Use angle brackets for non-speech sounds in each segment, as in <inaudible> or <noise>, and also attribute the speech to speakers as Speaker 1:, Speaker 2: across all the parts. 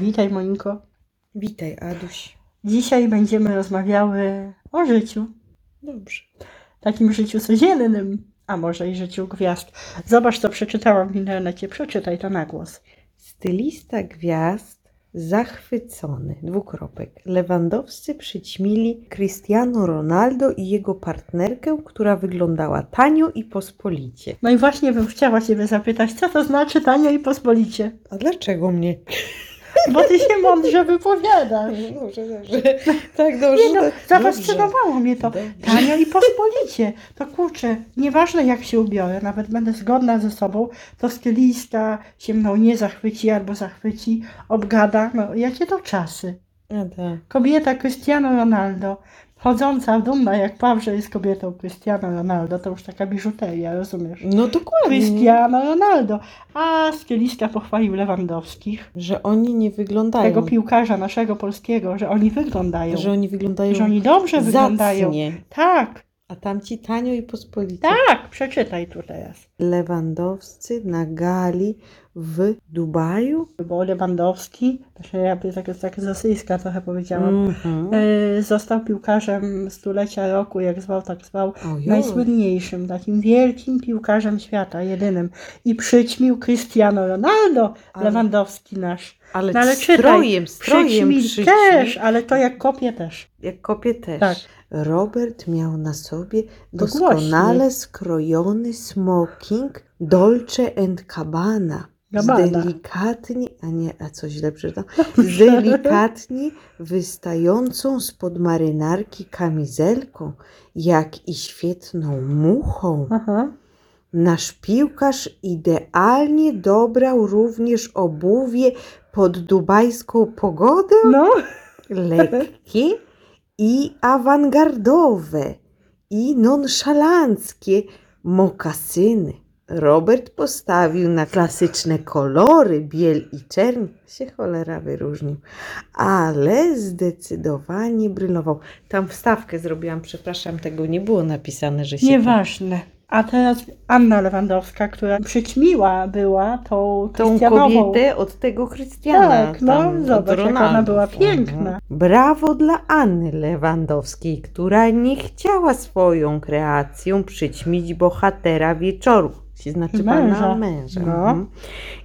Speaker 1: Witaj Moniko.
Speaker 2: Witaj, Aduś.
Speaker 1: Dzisiaj będziemy rozmawiały o życiu.
Speaker 2: Dobrze.
Speaker 1: Takim życiu codziennym, a może i życiu gwiazd. Zobacz, co przeczytałam w internecie. Przeczytaj to na głos.
Speaker 2: Stylista gwiazd zachwycony, dwukropek. Lewandowscy przyćmili Cristiano Ronaldo i jego partnerkę, która wyglądała tanio i pospolicie.
Speaker 1: No i właśnie bym chciała Ciebie zapytać, co to znaczy tanio i pospolicie?
Speaker 2: A dlaczego mnie? no
Speaker 1: Bo Ty się mądrze wypowiadasz.
Speaker 2: Dobrze, dobrze. Tak, dobrze.
Speaker 1: Nie no,
Speaker 2: tak-
Speaker 1: zafascynowało mnie to.
Speaker 2: Dobrze.
Speaker 1: Tanio i pospolicie. To kurczę, nieważne jak się ubiorę, nawet będę zgodna ze sobą, to stylista się mną nie zachwyci albo zachwyci, obgada. No, jakie to czasy.
Speaker 2: A, tak.
Speaker 1: Kobieta Cristiano Ronaldo, chodząca dumna jak Pawrze jest kobietą Cristiano Ronaldo, to już taka biżuteria, rozumiesz?
Speaker 2: No dokładnie.
Speaker 1: Cristiano Ronaldo, a stylista pochwalił Lewandowskich,
Speaker 2: Że oni nie wyglądają.
Speaker 1: tego piłkarza naszego polskiego, że oni wyglądają,
Speaker 2: Że
Speaker 1: że,
Speaker 2: oni wyglądają
Speaker 1: oni dobrze wyglądają.
Speaker 2: zacnie.
Speaker 1: Tak,
Speaker 2: A tamci tanio i pospolicie.
Speaker 1: tak, przeczytaj tu teraz.
Speaker 2: Lewandowscy na gali w Dubaju.
Speaker 1: Bo Lewandowski, znaczy ja by tak, tak z rosyjska trochę powiedziałam,
Speaker 2: Mhm.
Speaker 1: y, został piłkarzem stulecia roku, jak zwał, tak zwał,
Speaker 2: Ojoj.
Speaker 1: najsłynniejszym, takim wielkim piłkarzem świata, jedynym. I przyćmił Cristiano Ronaldo,
Speaker 2: Ale-
Speaker 1: Lewandowski nasz.
Speaker 2: Ale,
Speaker 1: No ale czytaj,
Speaker 2: strojem, strojem
Speaker 1: Przyćmił
Speaker 2: przyćmi,
Speaker 1: też, ale to jak kopie też.
Speaker 2: jak kopie też.
Speaker 1: Tak. No
Speaker 2: Robert miał na sobie
Speaker 1: To
Speaker 2: doskonale
Speaker 1: głośniej.
Speaker 2: skrojony smoking Dolce and Cabana.
Speaker 1: Gabbana.
Speaker 2: Z delikatnie, a nie, a co źle przeczytam, z
Speaker 1: <laughs>
Speaker 2: tak. delikatnie wystającą spod marynarki kamizelką, jak i świetną muchą.
Speaker 1: Aha.
Speaker 2: Nasz piłkarz idealnie dobrał również obuwie pod dubajską pogodę,
Speaker 1: No,
Speaker 2: lekkie i awangardowe i nonszalanckie mokasyny. Robert postawił na klasyczne kolory, biel i czerń, się cholera wyróżnił, ale zdecydowanie brylował. Tam wstawkę zrobiłam, przepraszam, tego nie było napisane, że się... tam-
Speaker 1: nieważne. A teraz Anna Lewandowska, która przyćmiła była tą
Speaker 2: tą
Speaker 1: Krystianową.
Speaker 2: kobietę od tego Chrystiana.
Speaker 1: Tak, no,
Speaker 2: tam, od
Speaker 1: zobacz, jak ona
Speaker 2: Ronaldo.
Speaker 1: była piękna.
Speaker 2: Mhm. Brawo dla Anny Lewandowskiej, która nie chciała swoją kreacją przyćmić bohatera wieczoru. Się znaczy
Speaker 1: Męża.
Speaker 2: pana męża.
Speaker 1: No.
Speaker 2: Mhm.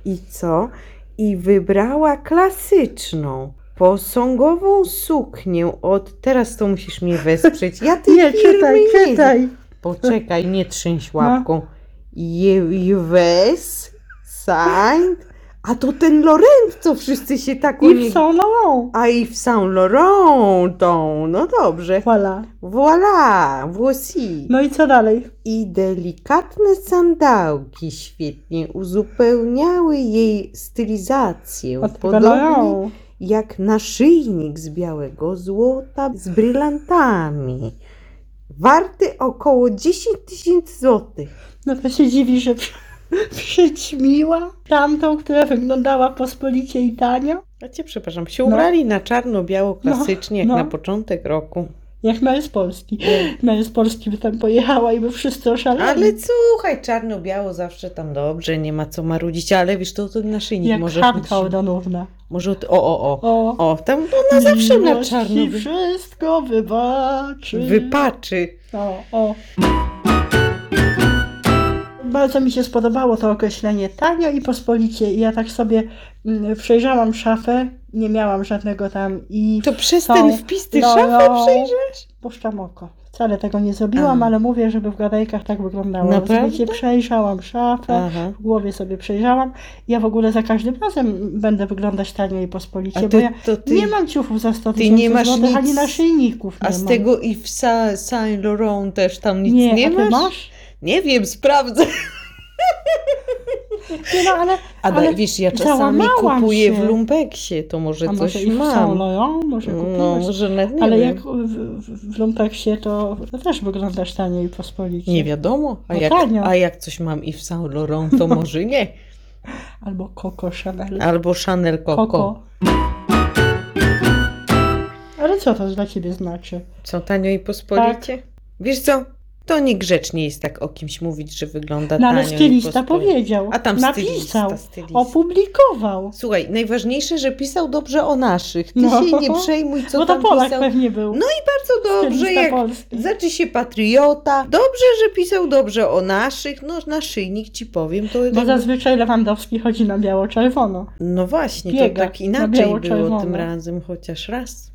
Speaker 2: I co? I wybrała klasyczną. Posągową suknię od. Teraz to musisz mnie wesprzeć. Ja ty
Speaker 1: <laughs> Nie, czytaj,
Speaker 2: nie znam.
Speaker 1: czytaj.
Speaker 2: Poczekaj, nie trząś
Speaker 1: No.
Speaker 2: łapką. Jeves, Saint, a to ten Laurent, co wszyscy się tak u
Speaker 1: I w
Speaker 2: niego...
Speaker 1: Saint Laurent.
Speaker 2: A Yves Saint Laurent, tą, no dobrze.
Speaker 1: Voilà.
Speaker 2: Voilà, voici.
Speaker 1: No i co dalej?
Speaker 2: I delikatne sandałki świetnie uzupełniały jej stylizację.
Speaker 1: Od tego
Speaker 2: Podobnie
Speaker 1: Laurent.
Speaker 2: jak naszyjnik z białego złota z brylantami. Warty około 10 tysięcy złotych.
Speaker 1: No to się dziwi, że <laughs> przy- przyćmiła tamtą, która wyglądała pospolicie i tanio.
Speaker 2: A cię przepraszam, się
Speaker 1: No.
Speaker 2: ubrali na czarno-biało
Speaker 1: No,
Speaker 2: klasycznie, jak
Speaker 1: no.
Speaker 2: na początek roku.
Speaker 1: Jak Mary z Polski. Mary z Polski by tam pojechała i by wszyscy oszaleli.
Speaker 2: Ale słuchaj, czarno-biało zawsze tam dobrze, nie ma co marudzić, ale wiesz, to, to na szyjnik
Speaker 1: Jak
Speaker 2: może...
Speaker 1: Hanka Odanówna.
Speaker 2: Może od... O, o, o.
Speaker 1: O,
Speaker 2: O, tam to ona zawsze na
Speaker 1: miłość
Speaker 2: czarno
Speaker 1: ci wszystko wybaczy.
Speaker 2: wypaczy.
Speaker 1: O, o. Bardzo mi się spodobało to określenie tanio i pospolicie. I ja tak sobie mm, przejrzałam szafę, nie miałam żadnego tam i
Speaker 2: To przez
Speaker 1: Są
Speaker 2: ten wpis ty
Speaker 1: no,
Speaker 2: szafę
Speaker 1: no.
Speaker 2: przejrzesz?
Speaker 1: Puszczam oko. Wcale tego nie zrobiłam,
Speaker 2: A.
Speaker 1: ale mówię, żeby w gadajkach tak wyglądało.
Speaker 2: Naprawdę?
Speaker 1: Rozumiecie, przejrzałam szafę,
Speaker 2: Aha.
Speaker 1: w głowie sobie przejrzałam. Ja w ogóle za każdym razem będę wyglądać tanio i
Speaker 2: A
Speaker 1: pospolicie, bo
Speaker 2: ty,
Speaker 1: ja
Speaker 2: to ty...
Speaker 1: nie mam ciuchów za 100
Speaker 2: ty
Speaker 1: tysięcy
Speaker 2: nie masz
Speaker 1: złotych,
Speaker 2: nic.
Speaker 1: ani naszyjników nie
Speaker 2: A z
Speaker 1: mam.
Speaker 2: tego i w Sa- Saint Laurent też tam nic
Speaker 1: nie,
Speaker 2: nie,
Speaker 1: a ty
Speaker 2: masz?
Speaker 1: masz?
Speaker 2: Nie wiem, sprawdzę.
Speaker 1: Nie, no
Speaker 2: <laughs>
Speaker 1: ale
Speaker 2: A
Speaker 1: Ale
Speaker 2: da, wiesz, ja czasami
Speaker 1: załamałam
Speaker 2: kupuję
Speaker 1: się.
Speaker 2: w lumpeksie, to może
Speaker 1: a
Speaker 2: coś
Speaker 1: może i w Saint
Speaker 2: mam.
Speaker 1: Laurent, może kupiłeś.
Speaker 2: No, może nawet nie
Speaker 1: ale
Speaker 2: wiem.
Speaker 1: jak w, w, w lumpeksie, to, to też wyglądasz tanio i pospolicie.
Speaker 2: Nie wiadomo, a
Speaker 1: No
Speaker 2: jak,
Speaker 1: tanio.
Speaker 2: a jak coś mam i w Saint Laurent, to
Speaker 1: <laughs>
Speaker 2: może nie.
Speaker 1: Albo Coco Chanel.
Speaker 2: Albo Chanel Coco.
Speaker 1: Ale co to dla ciebie znaczy? Tak.
Speaker 2: Co, tanio i pospolicie? Wiesz co, To niegrzecznie jest tak o kimś mówić, że wygląda
Speaker 1: No
Speaker 2: tanio.
Speaker 1: ale
Speaker 2: i
Speaker 1: stylista
Speaker 2: kosztuje.
Speaker 1: powiedział,
Speaker 2: A tam
Speaker 1: napisał,
Speaker 2: stylista, stylista.
Speaker 1: opublikował.
Speaker 2: Słuchaj, najważniejsze, że pisał dobrze o naszych. Ty
Speaker 1: No.
Speaker 2: się nie przejmuj, co
Speaker 1: bo to
Speaker 2: tam
Speaker 1: Polak
Speaker 2: pisał.
Speaker 1: pewnie był.
Speaker 2: No Bardzo dobrze,
Speaker 1: Stylista
Speaker 2: jak
Speaker 1: polski.
Speaker 2: zaczy się patriota. Dobrze, że pisał dobrze o naszych. No, naszyjnik ci powiem, to...
Speaker 1: Bo zazwyczaj Lewandowski chodzi na biało-czerwono.
Speaker 2: No właśnie, to
Speaker 1: biega
Speaker 2: tak
Speaker 1: na
Speaker 2: inaczej było tym
Speaker 1: biało-czerwono.
Speaker 2: razem, chociaż raz.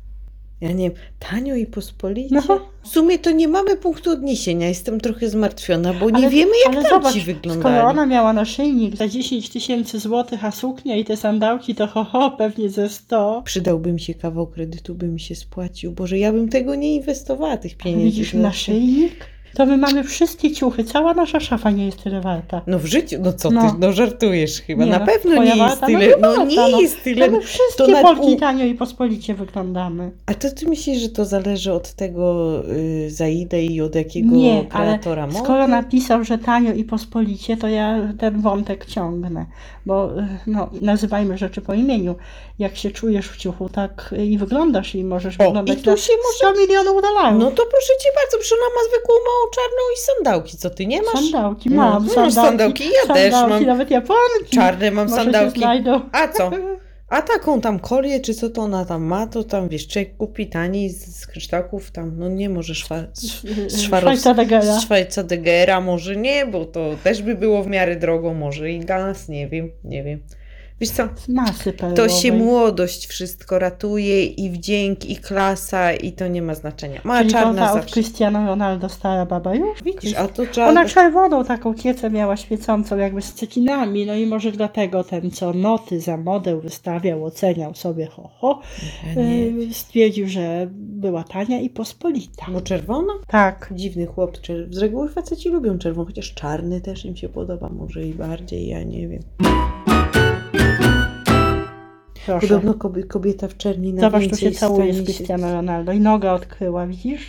Speaker 2: Ja nie wiem, tanio i pospolicie.
Speaker 1: No.
Speaker 2: W sumie to nie mamy punktu odniesienia, jestem trochę zmartwiona, bo nie
Speaker 1: Ale-
Speaker 2: wiemy jak
Speaker 1: ale
Speaker 2: tam
Speaker 1: zobacz,
Speaker 2: ci
Speaker 1: Skoro
Speaker 2: wyglądali.
Speaker 1: ona miała naszyjnik za 10 tysięcy złotych, a suknia i te sandałki to ho, ho pewnie ze 100.
Speaker 2: Przydałby mi się kawał kredytu, by mi się spłacił. Boże, ja bym tego nie inwestowała, tych pieniędzy.
Speaker 1: Widzisz
Speaker 2: znaczy.
Speaker 1: naszyjnik? To my mamy wszystkie ciuchy, cała nasza szafa nie jest tyle warta.
Speaker 2: No w życiu, no co
Speaker 1: No.
Speaker 2: ty, no żartujesz chyba.
Speaker 1: Nie
Speaker 2: na
Speaker 1: no,
Speaker 2: pewno
Speaker 1: twoja
Speaker 2: nie jest
Speaker 1: warta, no
Speaker 2: tyle.
Speaker 1: nie
Speaker 2: No
Speaker 1: warta,
Speaker 2: nie
Speaker 1: no.
Speaker 2: jest
Speaker 1: To
Speaker 2: tyle.
Speaker 1: my
Speaker 2: to
Speaker 1: wszystkie
Speaker 2: na
Speaker 1: Polki
Speaker 2: pół-
Speaker 1: tanio i pospolicie wyglądamy.
Speaker 2: A to ty myślisz, że to zależy od tego y, za ile i od jakiego
Speaker 1: Nie, ale
Speaker 2: kreatora mody?
Speaker 1: Skoro napisał, że tanio i pospolicie, to ja ten wątek ciągnę, bo y, no, nazywajmy rzeczy po imieniu. Jak się czujesz w ciuchu, tak y, i wyglądasz i możesz
Speaker 2: O,
Speaker 1: wyglądać
Speaker 2: i tu
Speaker 1: na
Speaker 2: się może-
Speaker 1: 100 milionów dolarów.
Speaker 2: No to proszę cię bardzo, przecież ona ma zwykłą małą czarną i sandałki. Co ty nie masz?
Speaker 1: Sandałki
Speaker 2: No,
Speaker 1: mam,
Speaker 2: masz
Speaker 1: sandałki,
Speaker 2: sandałki, ja też
Speaker 1: sandałki,
Speaker 2: mam.
Speaker 1: nawet japonki.
Speaker 2: Czarne mam
Speaker 1: Może Się
Speaker 2: sandałki.
Speaker 1: znajdą.
Speaker 2: A
Speaker 1: <laughs>
Speaker 2: co? A taką tam kolię, czy co to ona tam ma, to tam wiesz, człowiek kupi taniej z, z kryształków tam, no nie może szwa, z, z
Speaker 1: Szwajca de Gela.
Speaker 2: z Szwajca de Gera, może nie, bo to też by było w miarę drogo, może i dla nas, nie wiem, nie wiem. Wiesz co,
Speaker 1: Z masy
Speaker 2: to
Speaker 1: perłowej.
Speaker 2: się młodość wszystko ratuje i wdzięk, i klasa, i to nie ma znaczenia. Mała
Speaker 1: Czyli to
Speaker 2: czarna
Speaker 1: ta od
Speaker 2: zawsze.
Speaker 1: Cristiano Ronaldo stara baba już?
Speaker 2: Widzisz, a to trzeba...
Speaker 1: Ona czerwoną taką kiecę miała świecącą jakby z cekinami, no i może dlatego ten, co noty za modę wystawiał, oceniał sobie ho, ho
Speaker 2: Ja nie. No.
Speaker 1: y, stwierdził, że była tania i pospolita.
Speaker 2: Bo czerwona?
Speaker 1: Tak.
Speaker 2: Dziwny chłop. Czer... Z reguły faceci lubią czerwony, chociaż czarny też im się podoba, może i bardziej, ja nie wiem.
Speaker 1: Proszę.
Speaker 2: Podobno kobie- kobieta w czerni na
Speaker 1: Zobacz, tu
Speaker 2: więcej
Speaker 1: się całuje z
Speaker 2: stanie
Speaker 1: Cristiano Ronaldo i noga odkryła, widzisz?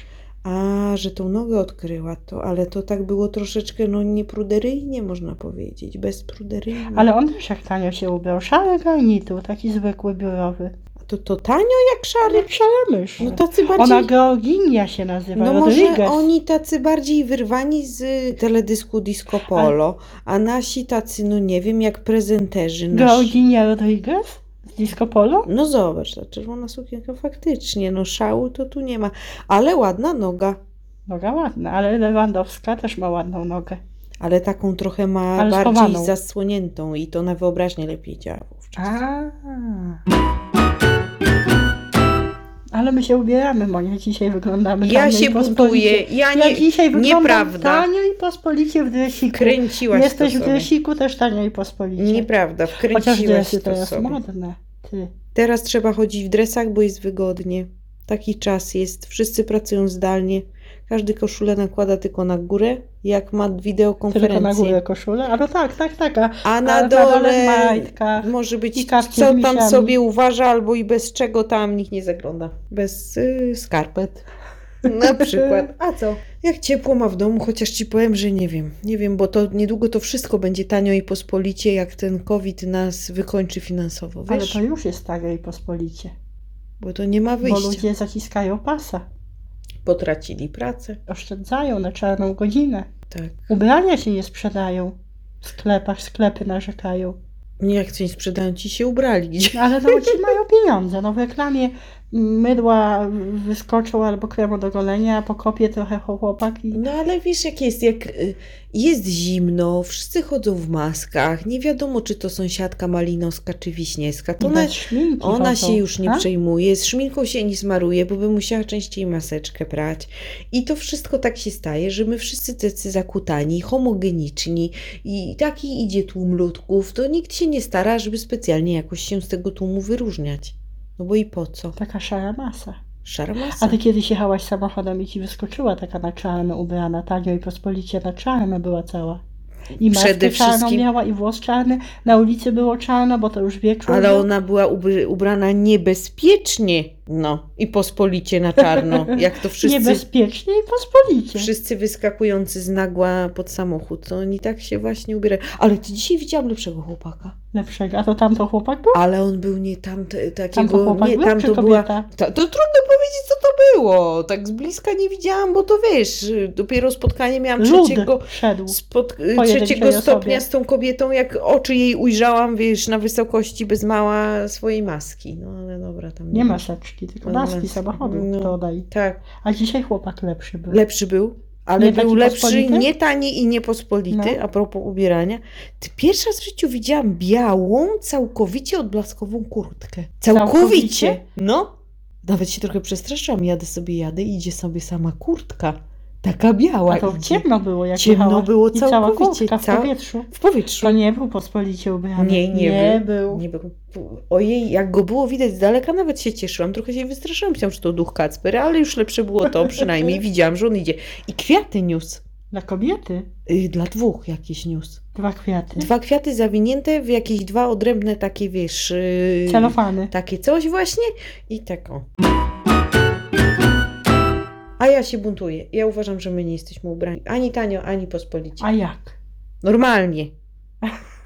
Speaker 2: A, że tą nogę odkryła to, ale to tak było troszeczkę, no niepruderyjnie można powiedzieć, bezpruderyjnie.
Speaker 1: Ale on też jak tanio się ubrał, szary garnitur, taki zwykły, biurowy.
Speaker 2: A to, to tanio jak szary?
Speaker 1: Ale szale myszy.
Speaker 2: No tacy bardziej...
Speaker 1: Ona Georginia się nazywa,
Speaker 2: No może
Speaker 1: Rodriguez.
Speaker 2: oni tacy bardziej wyrwani z y, teledysku Disco Polo, a nasi tacy, no nie wiem, jak prezenterzy nasi.
Speaker 1: Georginia Rodriguez? Z Disco Polo?
Speaker 2: No zobacz, ta czerwona sukienka faktycznie, no szału to tu nie ma, ale ładna noga,
Speaker 1: Noga ładna, ale Lewandowska też ma ładną nogę.
Speaker 2: ale taką trochę ma
Speaker 1: Ale
Speaker 2: bardziej
Speaker 1: schowaną.
Speaker 2: zasłoniętą i to na wyobraźnię lepiej działa wówczas.
Speaker 1: Ale my się ubieramy, Monia, dzisiaj wyglądamy
Speaker 2: Ja
Speaker 1: tanio i
Speaker 2: się
Speaker 1: pospolicie.
Speaker 2: buntuję,
Speaker 1: Ja
Speaker 2: ja nie
Speaker 1: dzisiaj wyglądam
Speaker 2: nieprawda.
Speaker 1: tanio i pospolicie w dresiku.
Speaker 2: kręciłaś
Speaker 1: Jesteś
Speaker 2: to
Speaker 1: w
Speaker 2: sobie.
Speaker 1: dresiku, też tanio i pospolicie.
Speaker 2: Nieprawda,
Speaker 1: Chociaż
Speaker 2: wkręciłaś
Speaker 1: dresy to
Speaker 2: to
Speaker 1: jest
Speaker 2: sobie.
Speaker 1: modne. Ty.
Speaker 2: Teraz trzeba chodzić w dresach, bo jest wygodnie. Taki czas jest, wszyscy pracują zdalnie. Każdy koszulę nakłada tylko na górę, jak ma wideokonferencję.
Speaker 1: Tylko na górę koszulę. A no tak, tak, tak. A
Speaker 2: A
Speaker 1: ale
Speaker 2: na
Speaker 1: dole
Speaker 2: dole
Speaker 1: majtka.
Speaker 2: może być
Speaker 1: i kartki
Speaker 2: co
Speaker 1: z
Speaker 2: tam
Speaker 1: misiami.
Speaker 2: sobie uważa, albo i bez czego tam nikt nie zagląda. Bez y, skarpet.
Speaker 1: <laughs>
Speaker 2: Na przykład. A co? Jak ciepło ma w domu, chociaż ci powiem, że nie wiem. Nie wiem, bo to niedługo to wszystko będzie tanio i pospolicie, jak ten COVID nas wykończy finansowo,
Speaker 1: Ale
Speaker 2: wiesz?
Speaker 1: to już jest tanio i pospolicie.
Speaker 2: Bo to nie ma
Speaker 1: Bo
Speaker 2: wyjścia.
Speaker 1: ludzie zaciskają pasa.
Speaker 2: Potracili pracę.
Speaker 1: Oszczędzają na czarną godzinę.
Speaker 2: Tak.
Speaker 1: Ubrania się nie sprzedają. W sklepach sklepy narzekają.
Speaker 2: Nie jak coś sprzedają, ci się ubrali gdzie.
Speaker 1: No, Ale no ci mają pieniądze. No w reklamie mydła wyskoczą albo kremu do golenia, pokopie trochę chłopak i...
Speaker 2: No ale wiesz jak jest, jak y, jest zimno, wszyscy chodzą w maskach, nie wiadomo czy to sąsiadka malinowska czy wiśniewska, to ona,
Speaker 1: bez szminki
Speaker 2: ona
Speaker 1: chodzą, tak?
Speaker 2: się już nie
Speaker 1: a?
Speaker 2: przejmuje, z szminką się nie smaruje, bo by musiała częściej maseczkę brać i to wszystko tak się staje, że my wszyscy tacy zakutani, homogeniczni i taki idzie tłum ludków, to nikt się nie stara, żeby specjalnie jakoś się z tego tłumu wyróżniać. No bo i po co?
Speaker 1: Taka szara masa.
Speaker 2: Szarmasa.
Speaker 1: A ty kiedyś jechałaś samochodem i ci wyskoczyła taka na czarno ubrana, tanio i pospolicie na czarno była cała. I maskę
Speaker 2: Przede
Speaker 1: czarną
Speaker 2: wszystkim-
Speaker 1: miała i włos czarny, na ulicy było czarno, bo to już wieczór.
Speaker 2: Ale
Speaker 1: był.
Speaker 2: ona była ubry, ubrana niebezpiecznie, no i pospolicie na czarno, jak to wszyscy,
Speaker 1: Niebezpiecznie i pospolicie.
Speaker 2: wszyscy wyskakujący z nagła pod samochód, to oni tak się właśnie ubierają. Ale ty dzisiaj widziałam lepszego chłopaka.
Speaker 1: lepszego. A to tamto chłopak był?
Speaker 2: Ale on był nie tam,
Speaker 1: Tamto
Speaker 2: takiego,
Speaker 1: chłopak
Speaker 2: nie,
Speaker 1: był,
Speaker 2: tam
Speaker 1: czy
Speaker 2: to była
Speaker 1: kobieta?
Speaker 2: Ta, to trudno powiedzieć, co to było. Tak z bliska nie widziałam, bo to wiesz, y, dopiero spotkanie miałam
Speaker 1: Lud
Speaker 2: trzeciego,
Speaker 1: szedł.
Speaker 2: spot, y,
Speaker 1: Pojedynczej
Speaker 2: trzeciego
Speaker 1: osobie.
Speaker 2: stopnia z tą kobietą, jak oczy jej ujrzałam, wiesz, na wysokości bez mała swojej maski. No ale dobra, tam
Speaker 1: Nie maseczki, tylko
Speaker 2: No,
Speaker 1: laski
Speaker 2: laski.
Speaker 1: samochodu
Speaker 2: No.
Speaker 1: dodaj.
Speaker 2: Tak,
Speaker 1: A dzisiaj chłopak lepszy był.
Speaker 2: lepszy był, ale
Speaker 1: Tak. Nie taki
Speaker 2: był lepszy,
Speaker 1: pospolity?
Speaker 2: nie tani i niepospolity,
Speaker 1: No.
Speaker 2: a propos ubierania. Ty pierwszy raz w życiu widziałam białą, całkowicie odblaskową kurtkę. Całkowicie?
Speaker 1: Całkowicie?
Speaker 2: No. Nawet się trochę przestraszyłam. Jadę sobie, jadę i idzie sobie sama kurtka. Taka biała
Speaker 1: A to
Speaker 2: idzie.
Speaker 1: ciemno było, jak
Speaker 2: Ciemno
Speaker 1: jechała.
Speaker 2: było
Speaker 1: I cała
Speaker 2: całkowicie,
Speaker 1: kurtka w
Speaker 2: cała-
Speaker 1: powietrzu.
Speaker 2: W powietrzu.
Speaker 1: To nie był pospolicie ubrany.
Speaker 2: Nie, nie
Speaker 1: był.
Speaker 2: Nie był. Ojej, jak go było widać z daleka, nawet się cieszyłam. Trochę się wystraszyłam, myślałam, że to duch Kacper, ale już lepsze było to
Speaker 1: <laughs>
Speaker 2: przynajmniej. Widziałam, że on idzie. I kwiaty niósł.
Speaker 1: Dla kobiety
Speaker 2: Y, Dla dwóch jakieś niósł.
Speaker 1: dwa kwiaty.
Speaker 2: Dwa kwiaty zawinięte w jakieś dwa odrębne takie, wiesz... y,
Speaker 1: Celofany.
Speaker 2: Takie coś właśnie i tak o. A ja się buntuję. Ja uważam, że my nie jesteśmy ubrani ani tanio, ani pospolicie.
Speaker 1: A jak?
Speaker 2: Normalnie.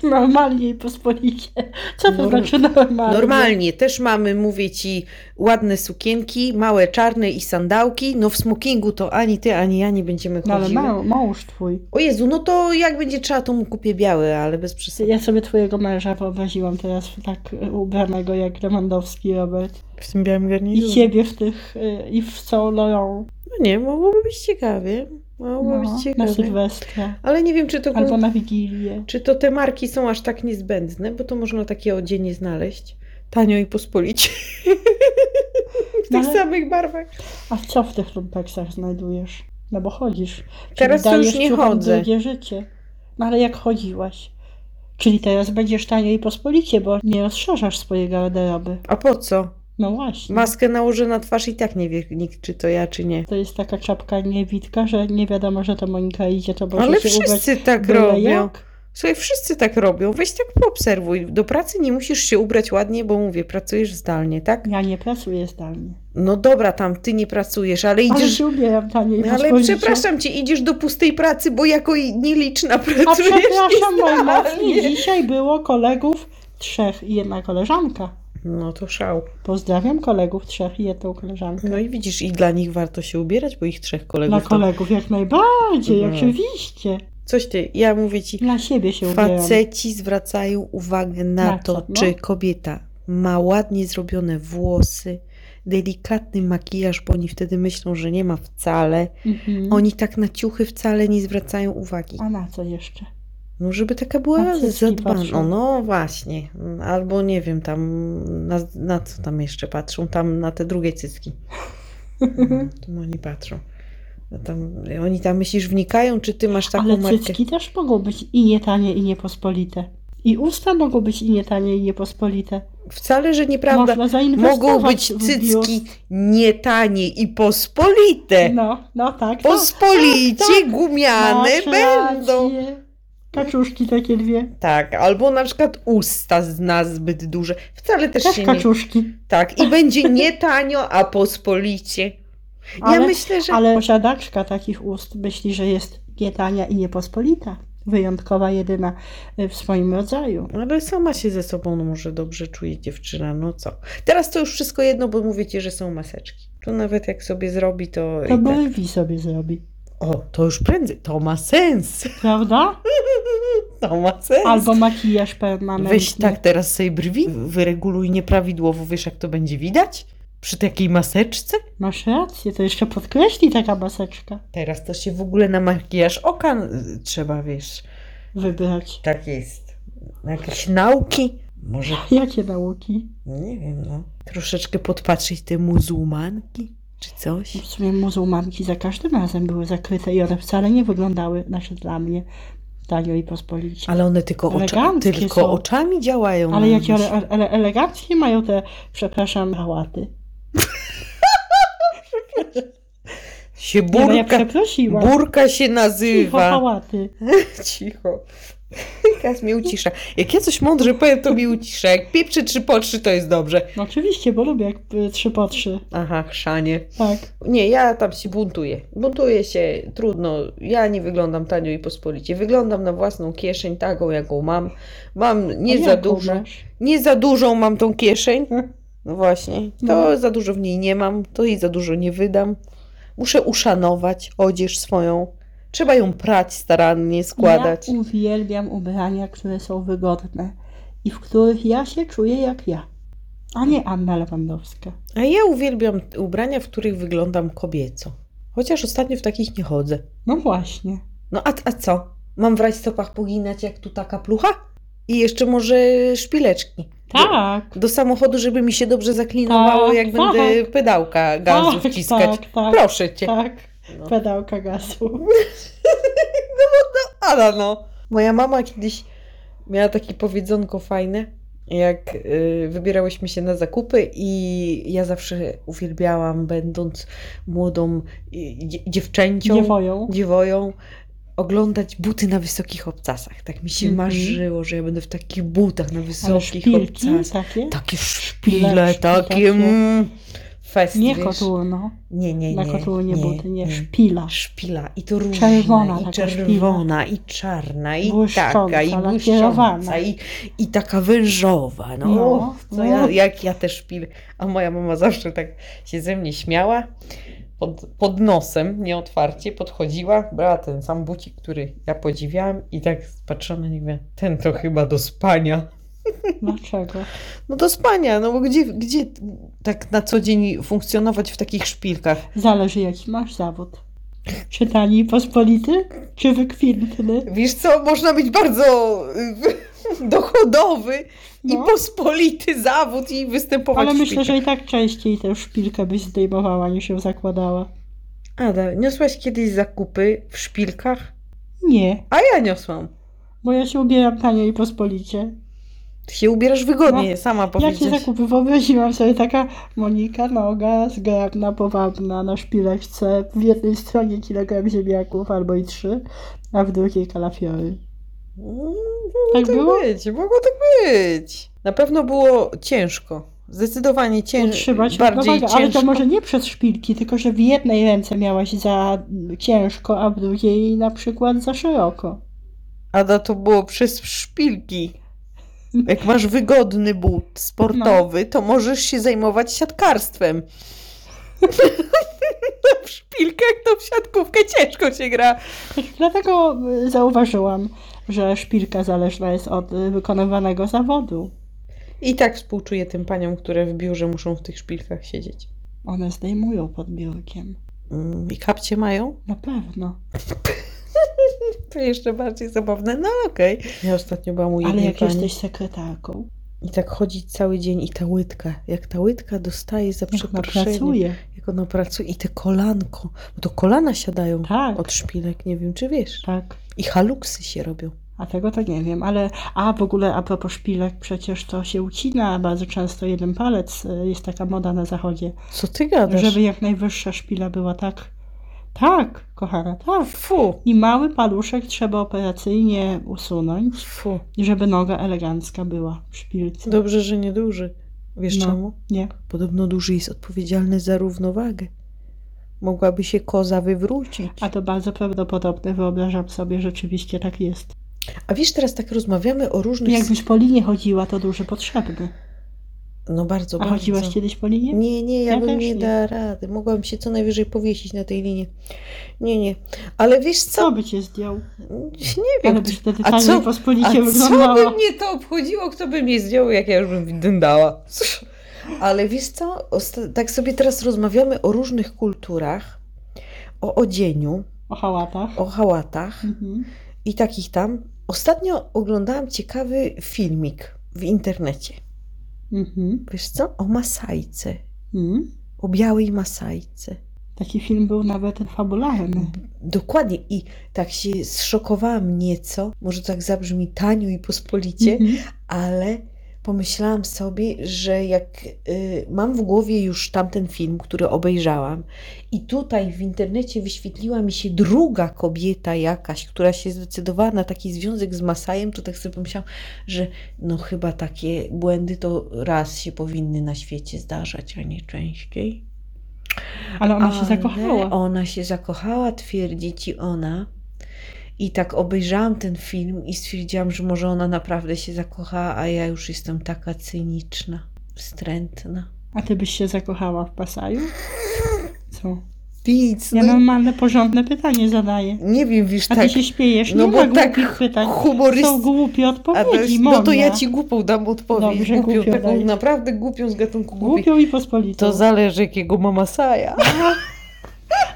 Speaker 1: Normalnie i pospolicie. Co to
Speaker 2: Norm-
Speaker 1: znaczy normalnie?
Speaker 2: Normalnie też mamy, mówię ci, ładne sukienki, małe czarne i sandałki. No w smokingu to ani ty, ani ja nie będziemy
Speaker 1: No ale
Speaker 2: chodziły.
Speaker 1: mał, mąż twój.
Speaker 2: O Jezu, no to jak będzie trzeba, to mu kupię białe, ale bez przesady.
Speaker 1: Ja sobie twojego męża wyobraziłam teraz tak e, ubranego jak Lewandowski Robert.
Speaker 2: W tym białym
Speaker 1: I
Speaker 2: garniturze.
Speaker 1: ciebie w tych, e, i w Saint Laurent.
Speaker 2: No nie, mogłoby być ciekawie. Mogłoby
Speaker 1: No,
Speaker 2: być
Speaker 1: na
Speaker 2: ciekawie.
Speaker 1: Sylwestra.
Speaker 2: Ale nie wiem, czy to,
Speaker 1: Albo na Wigilię.
Speaker 2: czy to te marki są aż tak niezbędne, bo to można takie odzienie znaleźć. Tanio i pospolicie. <laughs> w
Speaker 1: No
Speaker 2: tych
Speaker 1: ale-
Speaker 2: samych barwach.
Speaker 1: A co w tych lumpeksach znajdujesz? No bo chodzisz. Czyli
Speaker 2: Teraz to
Speaker 1: dajesz
Speaker 2: już nie
Speaker 1: ciuchom
Speaker 2: chodzę.
Speaker 1: drugie życie. No ale jak chodziłaś? Czyli teraz będziesz tanio i pospolicie, bo nie rozszerzasz swojej garderoby.
Speaker 2: A po co?
Speaker 1: No właśnie.
Speaker 2: Maskę nałożę na twarz i tak nie wie nikt, czy to ja, czy nie.
Speaker 1: To jest taka czapka niewidka, że nie wiadomo, że to Monika idzie, to może
Speaker 2: Ale
Speaker 1: się ubrać.
Speaker 2: wszyscy tak
Speaker 1: byle
Speaker 2: robią.
Speaker 1: jak.
Speaker 2: Słuchaj, wszyscy tak robią. Weź tak poobserwuj. Do pracy nie musisz się ubrać ładnie, bo mówię, pracujesz zdalnie, tak?
Speaker 1: Ja nie pracuję zdalnie.
Speaker 2: No dobra, tam ty nie pracujesz, ale
Speaker 1: Ale
Speaker 2: idziesz... No
Speaker 1: się ubieram taniej.
Speaker 2: Ale, ale
Speaker 1: pospolicie.
Speaker 2: przepraszam cię, idziesz do pustej pracy, bo jako i- nieliczna <laughs>
Speaker 1: A
Speaker 2: pracujesz
Speaker 1: przepraszam, moi mocni,
Speaker 2: niezdalnie.
Speaker 1: dzisiaj było kolegów trzech i jedna koleżanka.
Speaker 2: No to szał.
Speaker 1: Pozdrawiam kolegów trzech i jedną koleżankę.
Speaker 2: No i widzisz, i dla nich warto się ubierać, bo ich trzech
Speaker 1: Dla
Speaker 2: kolegów to...
Speaker 1: kolegów jak najbardziej,
Speaker 2: No.
Speaker 1: oczywiście.
Speaker 2: Coś ty, ja mówię ci,
Speaker 1: Dla siebie się ubieram.
Speaker 2: Faceci zwracają uwagę na,
Speaker 1: Na
Speaker 2: to,
Speaker 1: co, no?
Speaker 2: czy kobieta ma ładnie zrobione włosy, delikatny makijaż, bo oni wtedy myślą, że nie ma wcale.
Speaker 1: Mhm.
Speaker 2: Oni tak na ciuchy wcale nie zwracają uwagi.
Speaker 1: A na co jeszcze?
Speaker 2: No, żeby taka była
Speaker 1: Facetki
Speaker 2: zadbana.
Speaker 1: patrzą.
Speaker 2: No właśnie. Albo nie wiem, tam na, na co tam jeszcze patrzą, tam na te drugie cycki.
Speaker 1: <laughs>
Speaker 2: Mhm, Tam oni patrzą. No Tam, oni tam myślisz, wnikają, czy ty masz taką
Speaker 1: Ale
Speaker 2: markę.
Speaker 1: cycki też mogą być i nie tanie, i niepospolite. I usta mogą być i nie tanie, i niepospolite.
Speaker 2: Wcale, że nieprawda.
Speaker 1: Można zainwestować
Speaker 2: Mogą być
Speaker 1: w
Speaker 2: cycki nietanie i pospolite.
Speaker 1: No, no tak. no.
Speaker 2: Pospolicie
Speaker 1: tak, tak.
Speaker 2: gumiane
Speaker 1: Masz
Speaker 2: będą.
Speaker 1: rację. Kaczuszki takie dwie.
Speaker 2: Tak, albo na przykład usta z nas zbyt duże. Wcale też,
Speaker 1: Też
Speaker 2: się nie...
Speaker 1: kaczuszki.
Speaker 2: Tak, i będzie nie tanio, a pospolicie. Ja
Speaker 1: Ale-
Speaker 2: myślę, że...
Speaker 1: Ale posiadaczka takich ust myśli, że jest nie tania i niepospolita. Wyjątkowa, jedyna y, w swoim rodzaju.
Speaker 2: Ale sama się ze sobą może dobrze czuje dziewczyna, no co? Teraz to już wszystko jedno, bo mówicie, że są maseczki. To nawet jak sobie zrobi, to... i
Speaker 1: To
Speaker 2: tak.
Speaker 1: Bylwi sobie zrobi.
Speaker 2: O, to już prędzej. To ma sens. <laughs>
Speaker 1: Prawda?
Speaker 2: To ma sens.
Speaker 1: Albo makijaż permanentny.
Speaker 2: Weź tak teraz sobie brwi, wyreguluj nieprawidłowo, wiesz jak to będzie widać? Przy takiej maseczce?
Speaker 1: Masz rację, to jeszcze podkreśli taka maseczka.
Speaker 2: Teraz to się w ogóle na makijaż oka y, trzeba, wiesz.
Speaker 1: Wybrać.
Speaker 2: Tak jest. Na Jakieś nauki? Może,
Speaker 1: Jakie nauki?
Speaker 2: nie wiem, no. Troszeczkę podpatrzeć te muzułmanki? Czy coś?
Speaker 1: W sumie muzułmanki za każdym razem były zakryte i one wcale nie wyglądały, znaczy dla mnie, tanio i pospolicie.
Speaker 2: Ale one tylko, ocza,
Speaker 1: Eleganckie
Speaker 2: tylko
Speaker 1: są.
Speaker 2: oczami działają. no,
Speaker 1: Ale
Speaker 2: na
Speaker 1: jakie
Speaker 2: nas.
Speaker 1: ale, ale eleganckie mają te, przepraszam, hałaty.
Speaker 2: Się
Speaker 1: Nie, no ja
Speaker 2: burka,
Speaker 1: no, przeprosiłam.
Speaker 2: burka się
Speaker 1: Cicho,
Speaker 2: nazywa.
Speaker 1: hałaty.
Speaker 2: Cicho. <laughs> Teraz mnie ucisza. Jak ja coś mądrze powiem, to mi ucisza. Jak pieprzy trzy po trzy, to jest dobrze.
Speaker 1: No oczywiście, bo lubię jak y, trzy po trzy.
Speaker 2: Aha, chrzanie.
Speaker 1: Tak.
Speaker 2: Nie, ja tam się buntuję. Buntuję się, trudno. Ja nie wyglądam tanio i pospolicie. Wyglądam na własną kieszeń, taką jaką mam. Mam
Speaker 1: A
Speaker 2: nie za
Speaker 1: jaką no?
Speaker 2: dużo.
Speaker 1: masz?
Speaker 2: Nie za dużą mam tą kieszeń. No właśnie. To
Speaker 1: No.
Speaker 2: za dużo w niej nie mam, to jej za dużo nie wydam. Muszę uszanować odzież swoją. Trzeba ją prać starannie, składać.
Speaker 1: Ja uwielbiam ubrania, które są wygodne i w których ja się czuję jak ja, a nie Anna Lewandowska.
Speaker 2: A ja uwielbiam ubrania, w których wyglądam kobieco. Chociaż ostatnio w takich nie chodzę.
Speaker 1: No właśnie.
Speaker 2: No a, a co? Mam w rajstopach poginać jak tu taka plucha? I jeszcze może szpileczki.
Speaker 1: Tak.
Speaker 2: Do, do samochodu, żeby mi się dobrze zaklinowało,
Speaker 1: Tak,
Speaker 2: jak
Speaker 1: tak.
Speaker 2: będę pedałka gazu wciskać.
Speaker 1: tak, tak,
Speaker 2: Proszę cię.
Speaker 1: tak.
Speaker 2: No.
Speaker 1: Pedałka gazu.
Speaker 2: Ale no. Moja mama kiedyś miała takie powiedzonko fajne, jak y, wybierałyśmy się na zakupy i ja zawsze uwielbiałam, będąc młodą y, dzie- dziewczęcią,
Speaker 1: Dziewoją.
Speaker 2: dziewoją, oglądać buty na wysokich obcasach. Tak mi się
Speaker 1: Mhm.
Speaker 2: marzyło, że ja będę w takich butach na
Speaker 1: Ale
Speaker 2: wysokich Tak,
Speaker 1: szpilki
Speaker 2: obcasach.
Speaker 1: takie?
Speaker 2: Takie szpile,
Speaker 1: Szpileczki
Speaker 2: takie
Speaker 1: takie.
Speaker 2: mm, fest,
Speaker 1: Nie
Speaker 2: wiesz.
Speaker 1: kotulno.
Speaker 2: Nie, nie, nie.
Speaker 1: Na kotulnie buty, nie,
Speaker 2: nie.
Speaker 1: szpila.
Speaker 2: Szpila i to różna,
Speaker 1: Czerwona
Speaker 2: i
Speaker 1: taka
Speaker 2: czerwona, i czarna, i
Speaker 1: Błyszcząca,
Speaker 2: taka, i błyszcząca,
Speaker 1: lakierowana.
Speaker 2: i, i taka wężowa. No,
Speaker 1: No,
Speaker 2: och, co ja,
Speaker 1: no.
Speaker 2: jak ja te szpil. A moja mama zawsze tak się ze mnie śmiała. Pod, pod nosem, nieotwarcie, podchodziła, brała ten sam bucik, który ja podziwiałam i tak patrzyła na niego, ten to chyba do spania.
Speaker 1: Dlaczego?
Speaker 2: No do spania, no bo gdzie, gdzie tak na co dzień funkcjonować w takich szpilkach?
Speaker 1: Zależy jaki masz zawód. Czy tani i pospolity, czy wykwintny?
Speaker 2: Wiesz co, można mieć bardzo y, <laughs> dochodowy i
Speaker 1: No.
Speaker 2: pospolity zawód i występować
Speaker 1: Ale
Speaker 2: w
Speaker 1: myślę,
Speaker 2: szpilkach.
Speaker 1: że i tak częściej tę szpilkę byś zdejmowała niż ją zakładała.
Speaker 2: Ada, niosłaś kiedyś zakupy w szpilkach?
Speaker 1: Nie,
Speaker 2: A ja niosłam.
Speaker 1: bo ja się ubieram tanio i pospolicie.
Speaker 2: Ty się ubierasz wygodnie,
Speaker 1: No,
Speaker 2: sama
Speaker 1: Jakie
Speaker 2: powiedziałeś.
Speaker 1: zakupy wyobraziłam sobie? Taka Monika Noga, zgrabna, powabna, na szpileczce. W jednej stronie kilogram ziemniaków albo i trzy, a w drugiej kalafiory.
Speaker 2: Mm,
Speaker 1: Tak
Speaker 2: mogło tak
Speaker 1: było?
Speaker 2: być, mogło tak być. Na pewno było ciężko. Zdecydowanie ciężko.
Speaker 1: Utrzymać
Speaker 2: Bardziej
Speaker 1: równowagę, ale
Speaker 2: ciężko.
Speaker 1: to może nie przez szpilki, tylko że w jednej ręce miałaś za ciężko, a w drugiej na przykład za szeroko.
Speaker 2: Ada, to było przez szpilki. Jak masz wygodny but sportowy, to możesz się zajmować siatkarstwem. w szpilkach to w siatkówkę ciężko się gra.
Speaker 1: Dlatego y, zauważyłam, że szpilka zależna jest od y, wykonywanego zawodu.
Speaker 2: I tak współczuję tym paniom, które w biurze muszą w tych szpilkach siedzieć.
Speaker 1: One zdejmują pod biurkiem.
Speaker 2: Mm, I kapcie mają?
Speaker 1: Na pewno.
Speaker 2: To jeszcze bardziej zabawne. No okej. Ja ostatnio byłam u
Speaker 1: Ale
Speaker 2: jednej
Speaker 1: jak
Speaker 2: pani
Speaker 1: jesteś sekretarką,
Speaker 2: i tak chodzić cały dzień i ta łydka. Jak ta łydka dostaje za
Speaker 1: jak ona
Speaker 2: przeproszeniem.
Speaker 1: pracuje.
Speaker 2: Jak ona pracuje i te kolanko. Bo to kolana siadają.
Speaker 1: Tak,
Speaker 2: od szpilek, nie wiem czy wiesz.
Speaker 1: tak.
Speaker 2: I haluksy się robią.
Speaker 1: A tego to nie wiem, ale a w ogóle a propos szpilek, przecież to się ucina bardzo często jeden palec. y, Jest taka moda na zachodzie,
Speaker 2: Co ty gadasz?
Speaker 1: żeby jak najwyższa szpila była tak. Tak, kochana, tak.
Speaker 2: Fu,
Speaker 1: I mały paluszek trzeba operacyjnie usunąć,
Speaker 2: fu.
Speaker 1: żeby noga elegancka była w szpilce.
Speaker 2: Dobrze, że nie duży. Wiesz
Speaker 1: No.
Speaker 2: czemu?
Speaker 1: Nie.
Speaker 2: Podobno duży jest odpowiedzialny za równowagę. Mogłaby się koza wywrócić.
Speaker 1: A to bardzo prawdopodobne, wyobrażam sobie, rzeczywiście tak jest.
Speaker 2: A wiesz, teraz tak rozmawiamy o różnych...
Speaker 1: Jakbyś po linie chodziła, to duży potrzebny.
Speaker 2: No bardzo,
Speaker 1: A
Speaker 2: bardzo.
Speaker 1: chodziłaś kiedyś po linie?
Speaker 2: Nie, nie, ja,
Speaker 1: Ja
Speaker 2: bym
Speaker 1: też
Speaker 2: nie
Speaker 1: nie.
Speaker 2: dała rady. Mogłabym się co najwyżej powiesić na tej linie. Nie, nie. Ale wiesz co?
Speaker 1: Co by cię zdjął?
Speaker 2: Nie wiem.
Speaker 1: No. Ale byś wtedy
Speaker 2: A co-
Speaker 1: tajnie
Speaker 2: A
Speaker 1: pospolicie
Speaker 2: co by
Speaker 1: wyglądała.
Speaker 2: mnie to obchodziło, kto by mnie zdjął, jak ja już bym dyndała. Ale wiesz co, Osta- tak sobie teraz rozmawiamy o różnych kulturach, o odzieniu,
Speaker 1: O hałatach.
Speaker 2: o hałatach
Speaker 1: Mhm.
Speaker 2: i takich tam. Ostatnio oglądałam ciekawy filmik w internecie.
Speaker 1: Mhm.
Speaker 2: Wiesz co? O Masajce.
Speaker 1: Mhm.
Speaker 2: O białej Masajce.
Speaker 1: Taki film był nawet
Speaker 2: Mm.
Speaker 1: fabularny.
Speaker 2: Dokładnie. I tak się zszokowałam nieco, może tak zabrzmi tanio i pospolicie,
Speaker 1: Mhm.
Speaker 2: ale pomyślałam sobie, że jak y, mam w głowie już tamten film, który obejrzałam, i tutaj w internecie wyświetliła mi się druga kobieta jakaś, która się zdecydowała na taki związek z Masajem, to tak sobie pomyślałam, że no chyba takie błędy to raz się powinny na świecie zdarzać, a nie częściej.
Speaker 1: Ale ona się
Speaker 2: Ale
Speaker 1: zakochała.
Speaker 2: Ona się zakochała, twierdzi ci ona. I tak obejrzałam ten film i stwierdziłam, że może ona naprawdę się zakochała, a ja już jestem taka cyniczna, wstrętna.
Speaker 1: A ty byś się zakochała w Pasaju?
Speaker 2: No
Speaker 1: Co?
Speaker 2: Nic,
Speaker 1: Ja
Speaker 2: no,
Speaker 1: normalne, porządne pytanie zadaję.
Speaker 2: nie wiem, wiesz,
Speaker 1: A
Speaker 2: tak.
Speaker 1: ty się śmiejesz?
Speaker 2: no
Speaker 1: nie
Speaker 2: bo
Speaker 1: ma
Speaker 2: tak
Speaker 1: głupich pytań. Są
Speaker 2: humorystycznie.
Speaker 1: głupie
Speaker 2: A to jest,
Speaker 1: odpowiedzi,
Speaker 2: no to ja
Speaker 1: Monia.
Speaker 2: ci głupią dam odpowiedź.
Speaker 1: Dobrze,
Speaker 2: głupią,
Speaker 1: głupią
Speaker 2: taką
Speaker 1: daj.
Speaker 2: naprawdę głupią z gatunku głupich.
Speaker 1: Głupią i pospolitą.
Speaker 2: To zależy jakiego mama saja.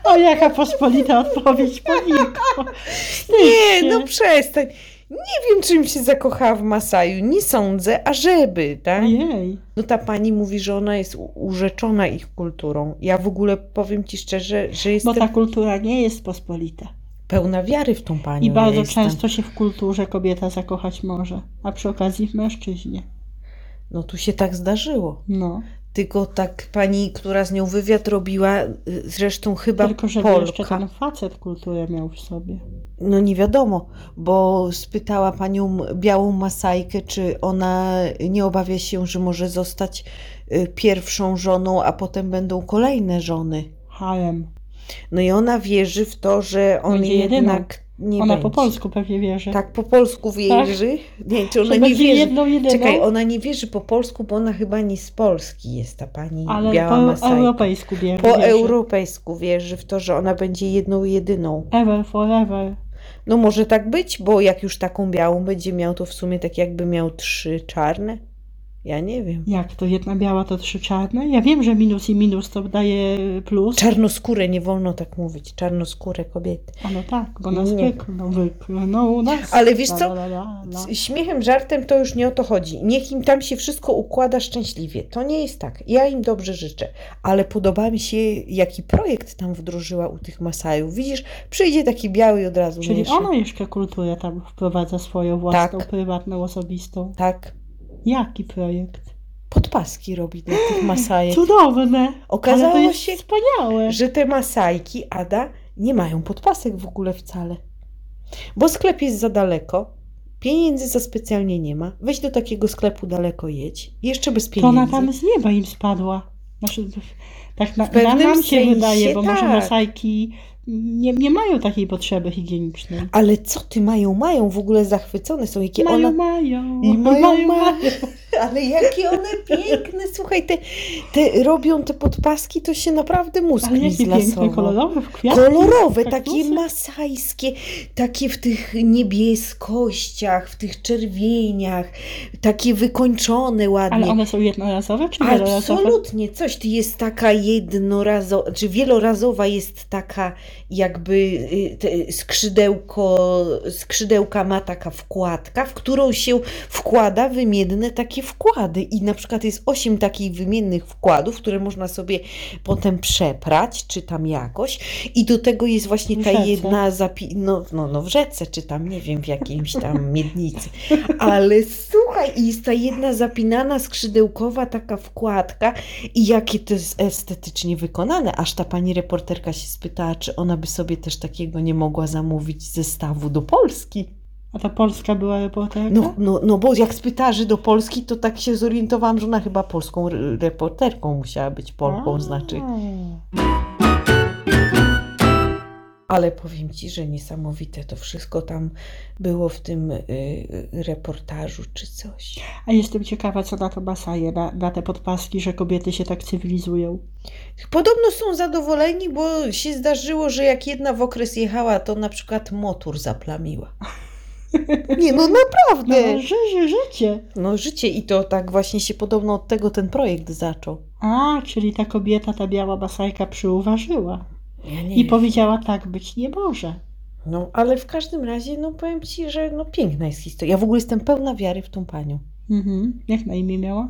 Speaker 1: O, jaka pospolita odpowiedź, Moniko. Wstydź
Speaker 2: <laughs> Nie,
Speaker 1: się.
Speaker 2: no przestań. Nie wiem, czym się zakochała w Masaju. Nie sądzę, ażeby, tak?
Speaker 1: Ojej.
Speaker 2: No ta pani mówi, że ona jest u- urzeczona ich kulturą. Ja w ogóle powiem ci szczerze, że
Speaker 1: Bo
Speaker 2: jestem
Speaker 1: ta kultura nie jest pospolita.
Speaker 2: pełna wiary w tą panią.
Speaker 1: I bardzo
Speaker 2: ja jestem.
Speaker 1: często się w kulturze kobieta zakochać może, a przy okazji w mężczyźnie.
Speaker 2: No tu się tak zdarzyło.
Speaker 1: No,
Speaker 2: Tylko tak pani, która z nią wywiad robiła, y, zresztą chyba
Speaker 1: tylko żeby jeszcze
Speaker 2: Polka.
Speaker 1: ten facet kulturę miał w sobie.
Speaker 2: No nie wiadomo, bo spytała panią białą Masajkę, czy ona nie obawia się, że może zostać y, pierwszą żoną, a potem będą kolejne żony.
Speaker 1: Harem.
Speaker 2: No i ona wierzy w to, że on
Speaker 1: Będzie jedyną.
Speaker 2: jednak nie
Speaker 1: Ona
Speaker 2: będzie.
Speaker 1: po polsku pewnie wierzy.
Speaker 2: Tak, po polsku wierzy. Nie, czy
Speaker 1: Że
Speaker 2: ona nie
Speaker 1: będzie
Speaker 2: wierzy.
Speaker 1: jedną jedyną,
Speaker 2: Czekaj, ona nie wierzy po polsku, bo ona chyba nie z Polski jest, ta pani
Speaker 1: ale
Speaker 2: biała
Speaker 1: po
Speaker 2: Masajka.
Speaker 1: europejsku wierzy.
Speaker 2: Po
Speaker 1: wierzy.
Speaker 2: europejsku wierzy w to, że ona będzie jedną jedyną.
Speaker 1: Ever, forever.
Speaker 2: No może tak być, bo jak już taką białą będzie miał, to w sumie tak jakby miał trzy czarne. Ja nie wiem.
Speaker 1: Jak to jedna biała, to trzy czarne? Ja wiem, że minus i minus to daje plus.
Speaker 2: Czarnoskóre, nie wolno tak mówić. Czarnoskóre kobiety.
Speaker 1: A no tak, bo nas
Speaker 2: Nie.
Speaker 1: wyklną, wyklną nas.
Speaker 2: Ale wiesz co?
Speaker 1: La, la, la, la.
Speaker 2: Z Śmiechem, żartem to już nie o to chodzi. Niech im tam się wszystko układa szczęśliwie. To nie jest tak. Ja im dobrze życzę. Ale podoba mi się, jaki projekt tam wdrożyła u tych Masajów. Widzisz, przyjdzie taki biały i od razu
Speaker 1: Czyli
Speaker 2: miesza.
Speaker 1: ona jeszcze kulturę tam wprowadza swoją własną,
Speaker 2: Tak.
Speaker 1: prywatną, osobistą.
Speaker 2: Tak.
Speaker 1: Jaki projekt?
Speaker 2: Podpaski robi dla tych Masajek.
Speaker 1: Cudowne! Ale to
Speaker 2: Okazało
Speaker 1: jest
Speaker 2: się,
Speaker 1: wspaniałe.
Speaker 2: że te Masajki, Ada, nie mają podpasek w ogóle wcale. Bo sklep jest za daleko. Pieniędzy za specjalnie nie ma. Weź do takiego sklepu daleko jedź. Jeszcze bez
Speaker 1: To
Speaker 2: pieniędzy.
Speaker 1: ona tam z nieba im spadła. Znaczy, tak na,
Speaker 2: W pewnym
Speaker 1: na, nam się
Speaker 2: sensie
Speaker 1: wydaje, bo może
Speaker 2: tak.
Speaker 1: masajki nie, nie mają takiej potrzeby higienicznej.
Speaker 2: Ale co ty mają, mają w ogóle zachwycone są, jakie
Speaker 1: Mają,
Speaker 2: one.
Speaker 1: mają.
Speaker 2: I mają, mają. <laughs> Ale jakie one piękne, słuchaj, te, te robią te podpaski, to się naprawdę mózg
Speaker 1: Ale
Speaker 2: mi
Speaker 1: jakie piękne,
Speaker 2: zlasował.
Speaker 1: kolorowe, w kwiatach.
Speaker 2: Kolorowe,
Speaker 1: Tak,
Speaker 2: takie
Speaker 1: kaktusy.
Speaker 2: masajskie, takie w tych niebieskościach, w tych czerwieniach, takie wykończone
Speaker 1: Ale
Speaker 2: ładnie.
Speaker 1: one są jednorazowe czy wielorazowe?
Speaker 2: Absolutnie, coś ty jest taka jednorazowa, czy wielorazowa jest taka jakby y, te skrzydełko, skrzydełka ma taka wkładka, w którą się wkłada wymienne takie wkłady i na przykład jest osiem takich wymiennych wkładów, które można sobie potem przeprać, czy tam jakoś i do tego jest właśnie ta
Speaker 1: W rzece.
Speaker 2: jedna zapi- no, no, no w rzece, czy tam nie wiem, w jakimś
Speaker 1: <laughs>
Speaker 2: tam miednicy. Ale słuchaj, i jest ta jedna zapinana skrzydełkowa taka wkładka i jakie to jest estetycznie wykonane. Aż ta pani reporterka się spytała, czy ona by sobie też takiego nie mogła zamówić z zestawu do Polski.
Speaker 1: A ta Polska była reporterka?
Speaker 2: No, no, no bo jak spytała, że do Polski, to tak się zorientowałam, że ona chyba polską re- reporterką musiała być, Polką
Speaker 1: A.
Speaker 2: znaczy. Ale powiem Ci, że niesamowite to wszystko tam było w tym y, y, reportażu czy coś.
Speaker 1: A jestem ciekawa, co na to Masaje, na, na te podpaski, że kobiety się tak cywilizują.
Speaker 2: Podobno są zadowoleni, bo się zdarzyło, że jak jedna w okres jechała, to na przykład motor zaplamiła. Nie, no
Speaker 1: No,
Speaker 2: naprawdę.
Speaker 1: że, że życie.
Speaker 2: No życie i to tak właśnie się podobno od tego ten projekt zaczął.
Speaker 1: A, czyli ta kobieta, ta biała Masajka przyuważyła.
Speaker 2: Ja nie
Speaker 1: I
Speaker 2: wiem.
Speaker 1: powiedziała, tak być nie może.
Speaker 2: No, ale w każdym razie, no powiem Ci, że no piękna jest historia. Ja w ogóle jestem pełna wiary w tą panią.
Speaker 1: Mhm. Jak na imię miała?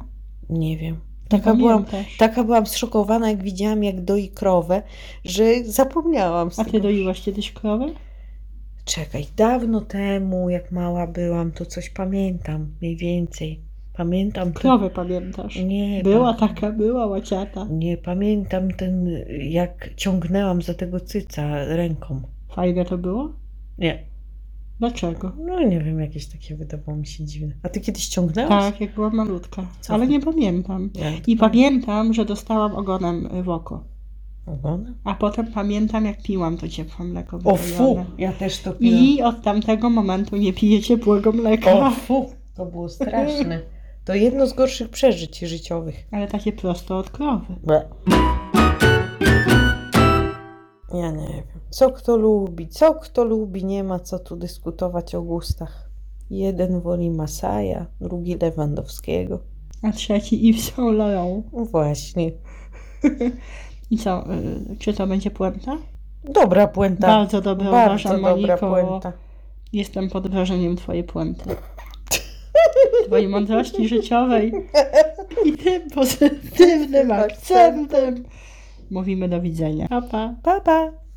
Speaker 2: Nie wiem.
Speaker 1: Nie
Speaker 2: Taka tak byłam,
Speaker 1: pamiętasz.
Speaker 2: taka byłam zszokowana, jak widziałam, jak doi krowę, że zapomniałam. z
Speaker 1: A ty
Speaker 2: tego.
Speaker 1: doiłaś kiedyś krowę?
Speaker 2: Czekaj, dawno temu, jak mała byłam, to coś pamiętam mniej więcej. Pamiętam ten...
Speaker 1: Krowę pamiętasz?
Speaker 2: Nie,
Speaker 1: Była
Speaker 2: pa-
Speaker 1: taka, była łaciata.
Speaker 2: Nie, pamiętam ten, jak ciągnęłam za tego cyca ręką.
Speaker 1: Fajne to było?
Speaker 2: Nie,
Speaker 1: Dlaczego?
Speaker 2: no nie wiem, jakieś takie wydawało mi się dziwne. A ty kiedyś ciągnęłaś?
Speaker 1: Tak, jak była malutka.
Speaker 2: Co?
Speaker 1: Ale nie pamiętam.
Speaker 2: Ja,
Speaker 1: I pamiętam, że dostałam ogonem w oko.
Speaker 2: Ogona?
Speaker 1: A potem pamiętam, jak piłam to ciepłe mleko.
Speaker 2: O fu,
Speaker 1: wylejone.
Speaker 2: ja też to piłam.
Speaker 1: I od tamtego momentu nie piję ciepłego mleka.
Speaker 2: O fu, to było straszne. To jedno z gorszych przeżyć życiowych.
Speaker 1: Ale takie prosto od krowy.
Speaker 2: Ja nie wiem. Co kto lubi, co kto lubi, nie ma co tu dyskutować o gustach. Jeden woli Masaja, drugi Lewandowskiego.
Speaker 1: A trzeci Yves Saint Laurent.
Speaker 2: Właśnie.
Speaker 1: I co, y, czy to będzie puenta?
Speaker 2: Dobra puenta.
Speaker 1: Bardzo dobra,
Speaker 2: Tak. Bardzo
Speaker 1: uważam,
Speaker 2: dobra
Speaker 1: Moniko.
Speaker 2: puenta. <laughs>
Speaker 1: Jestem pod wrażeniem twojej puenty. Twojej mądrości życiowej. I tym pozytywnym akcentem mówimy do widzenia. Pa, pa.
Speaker 2: Pa, pa.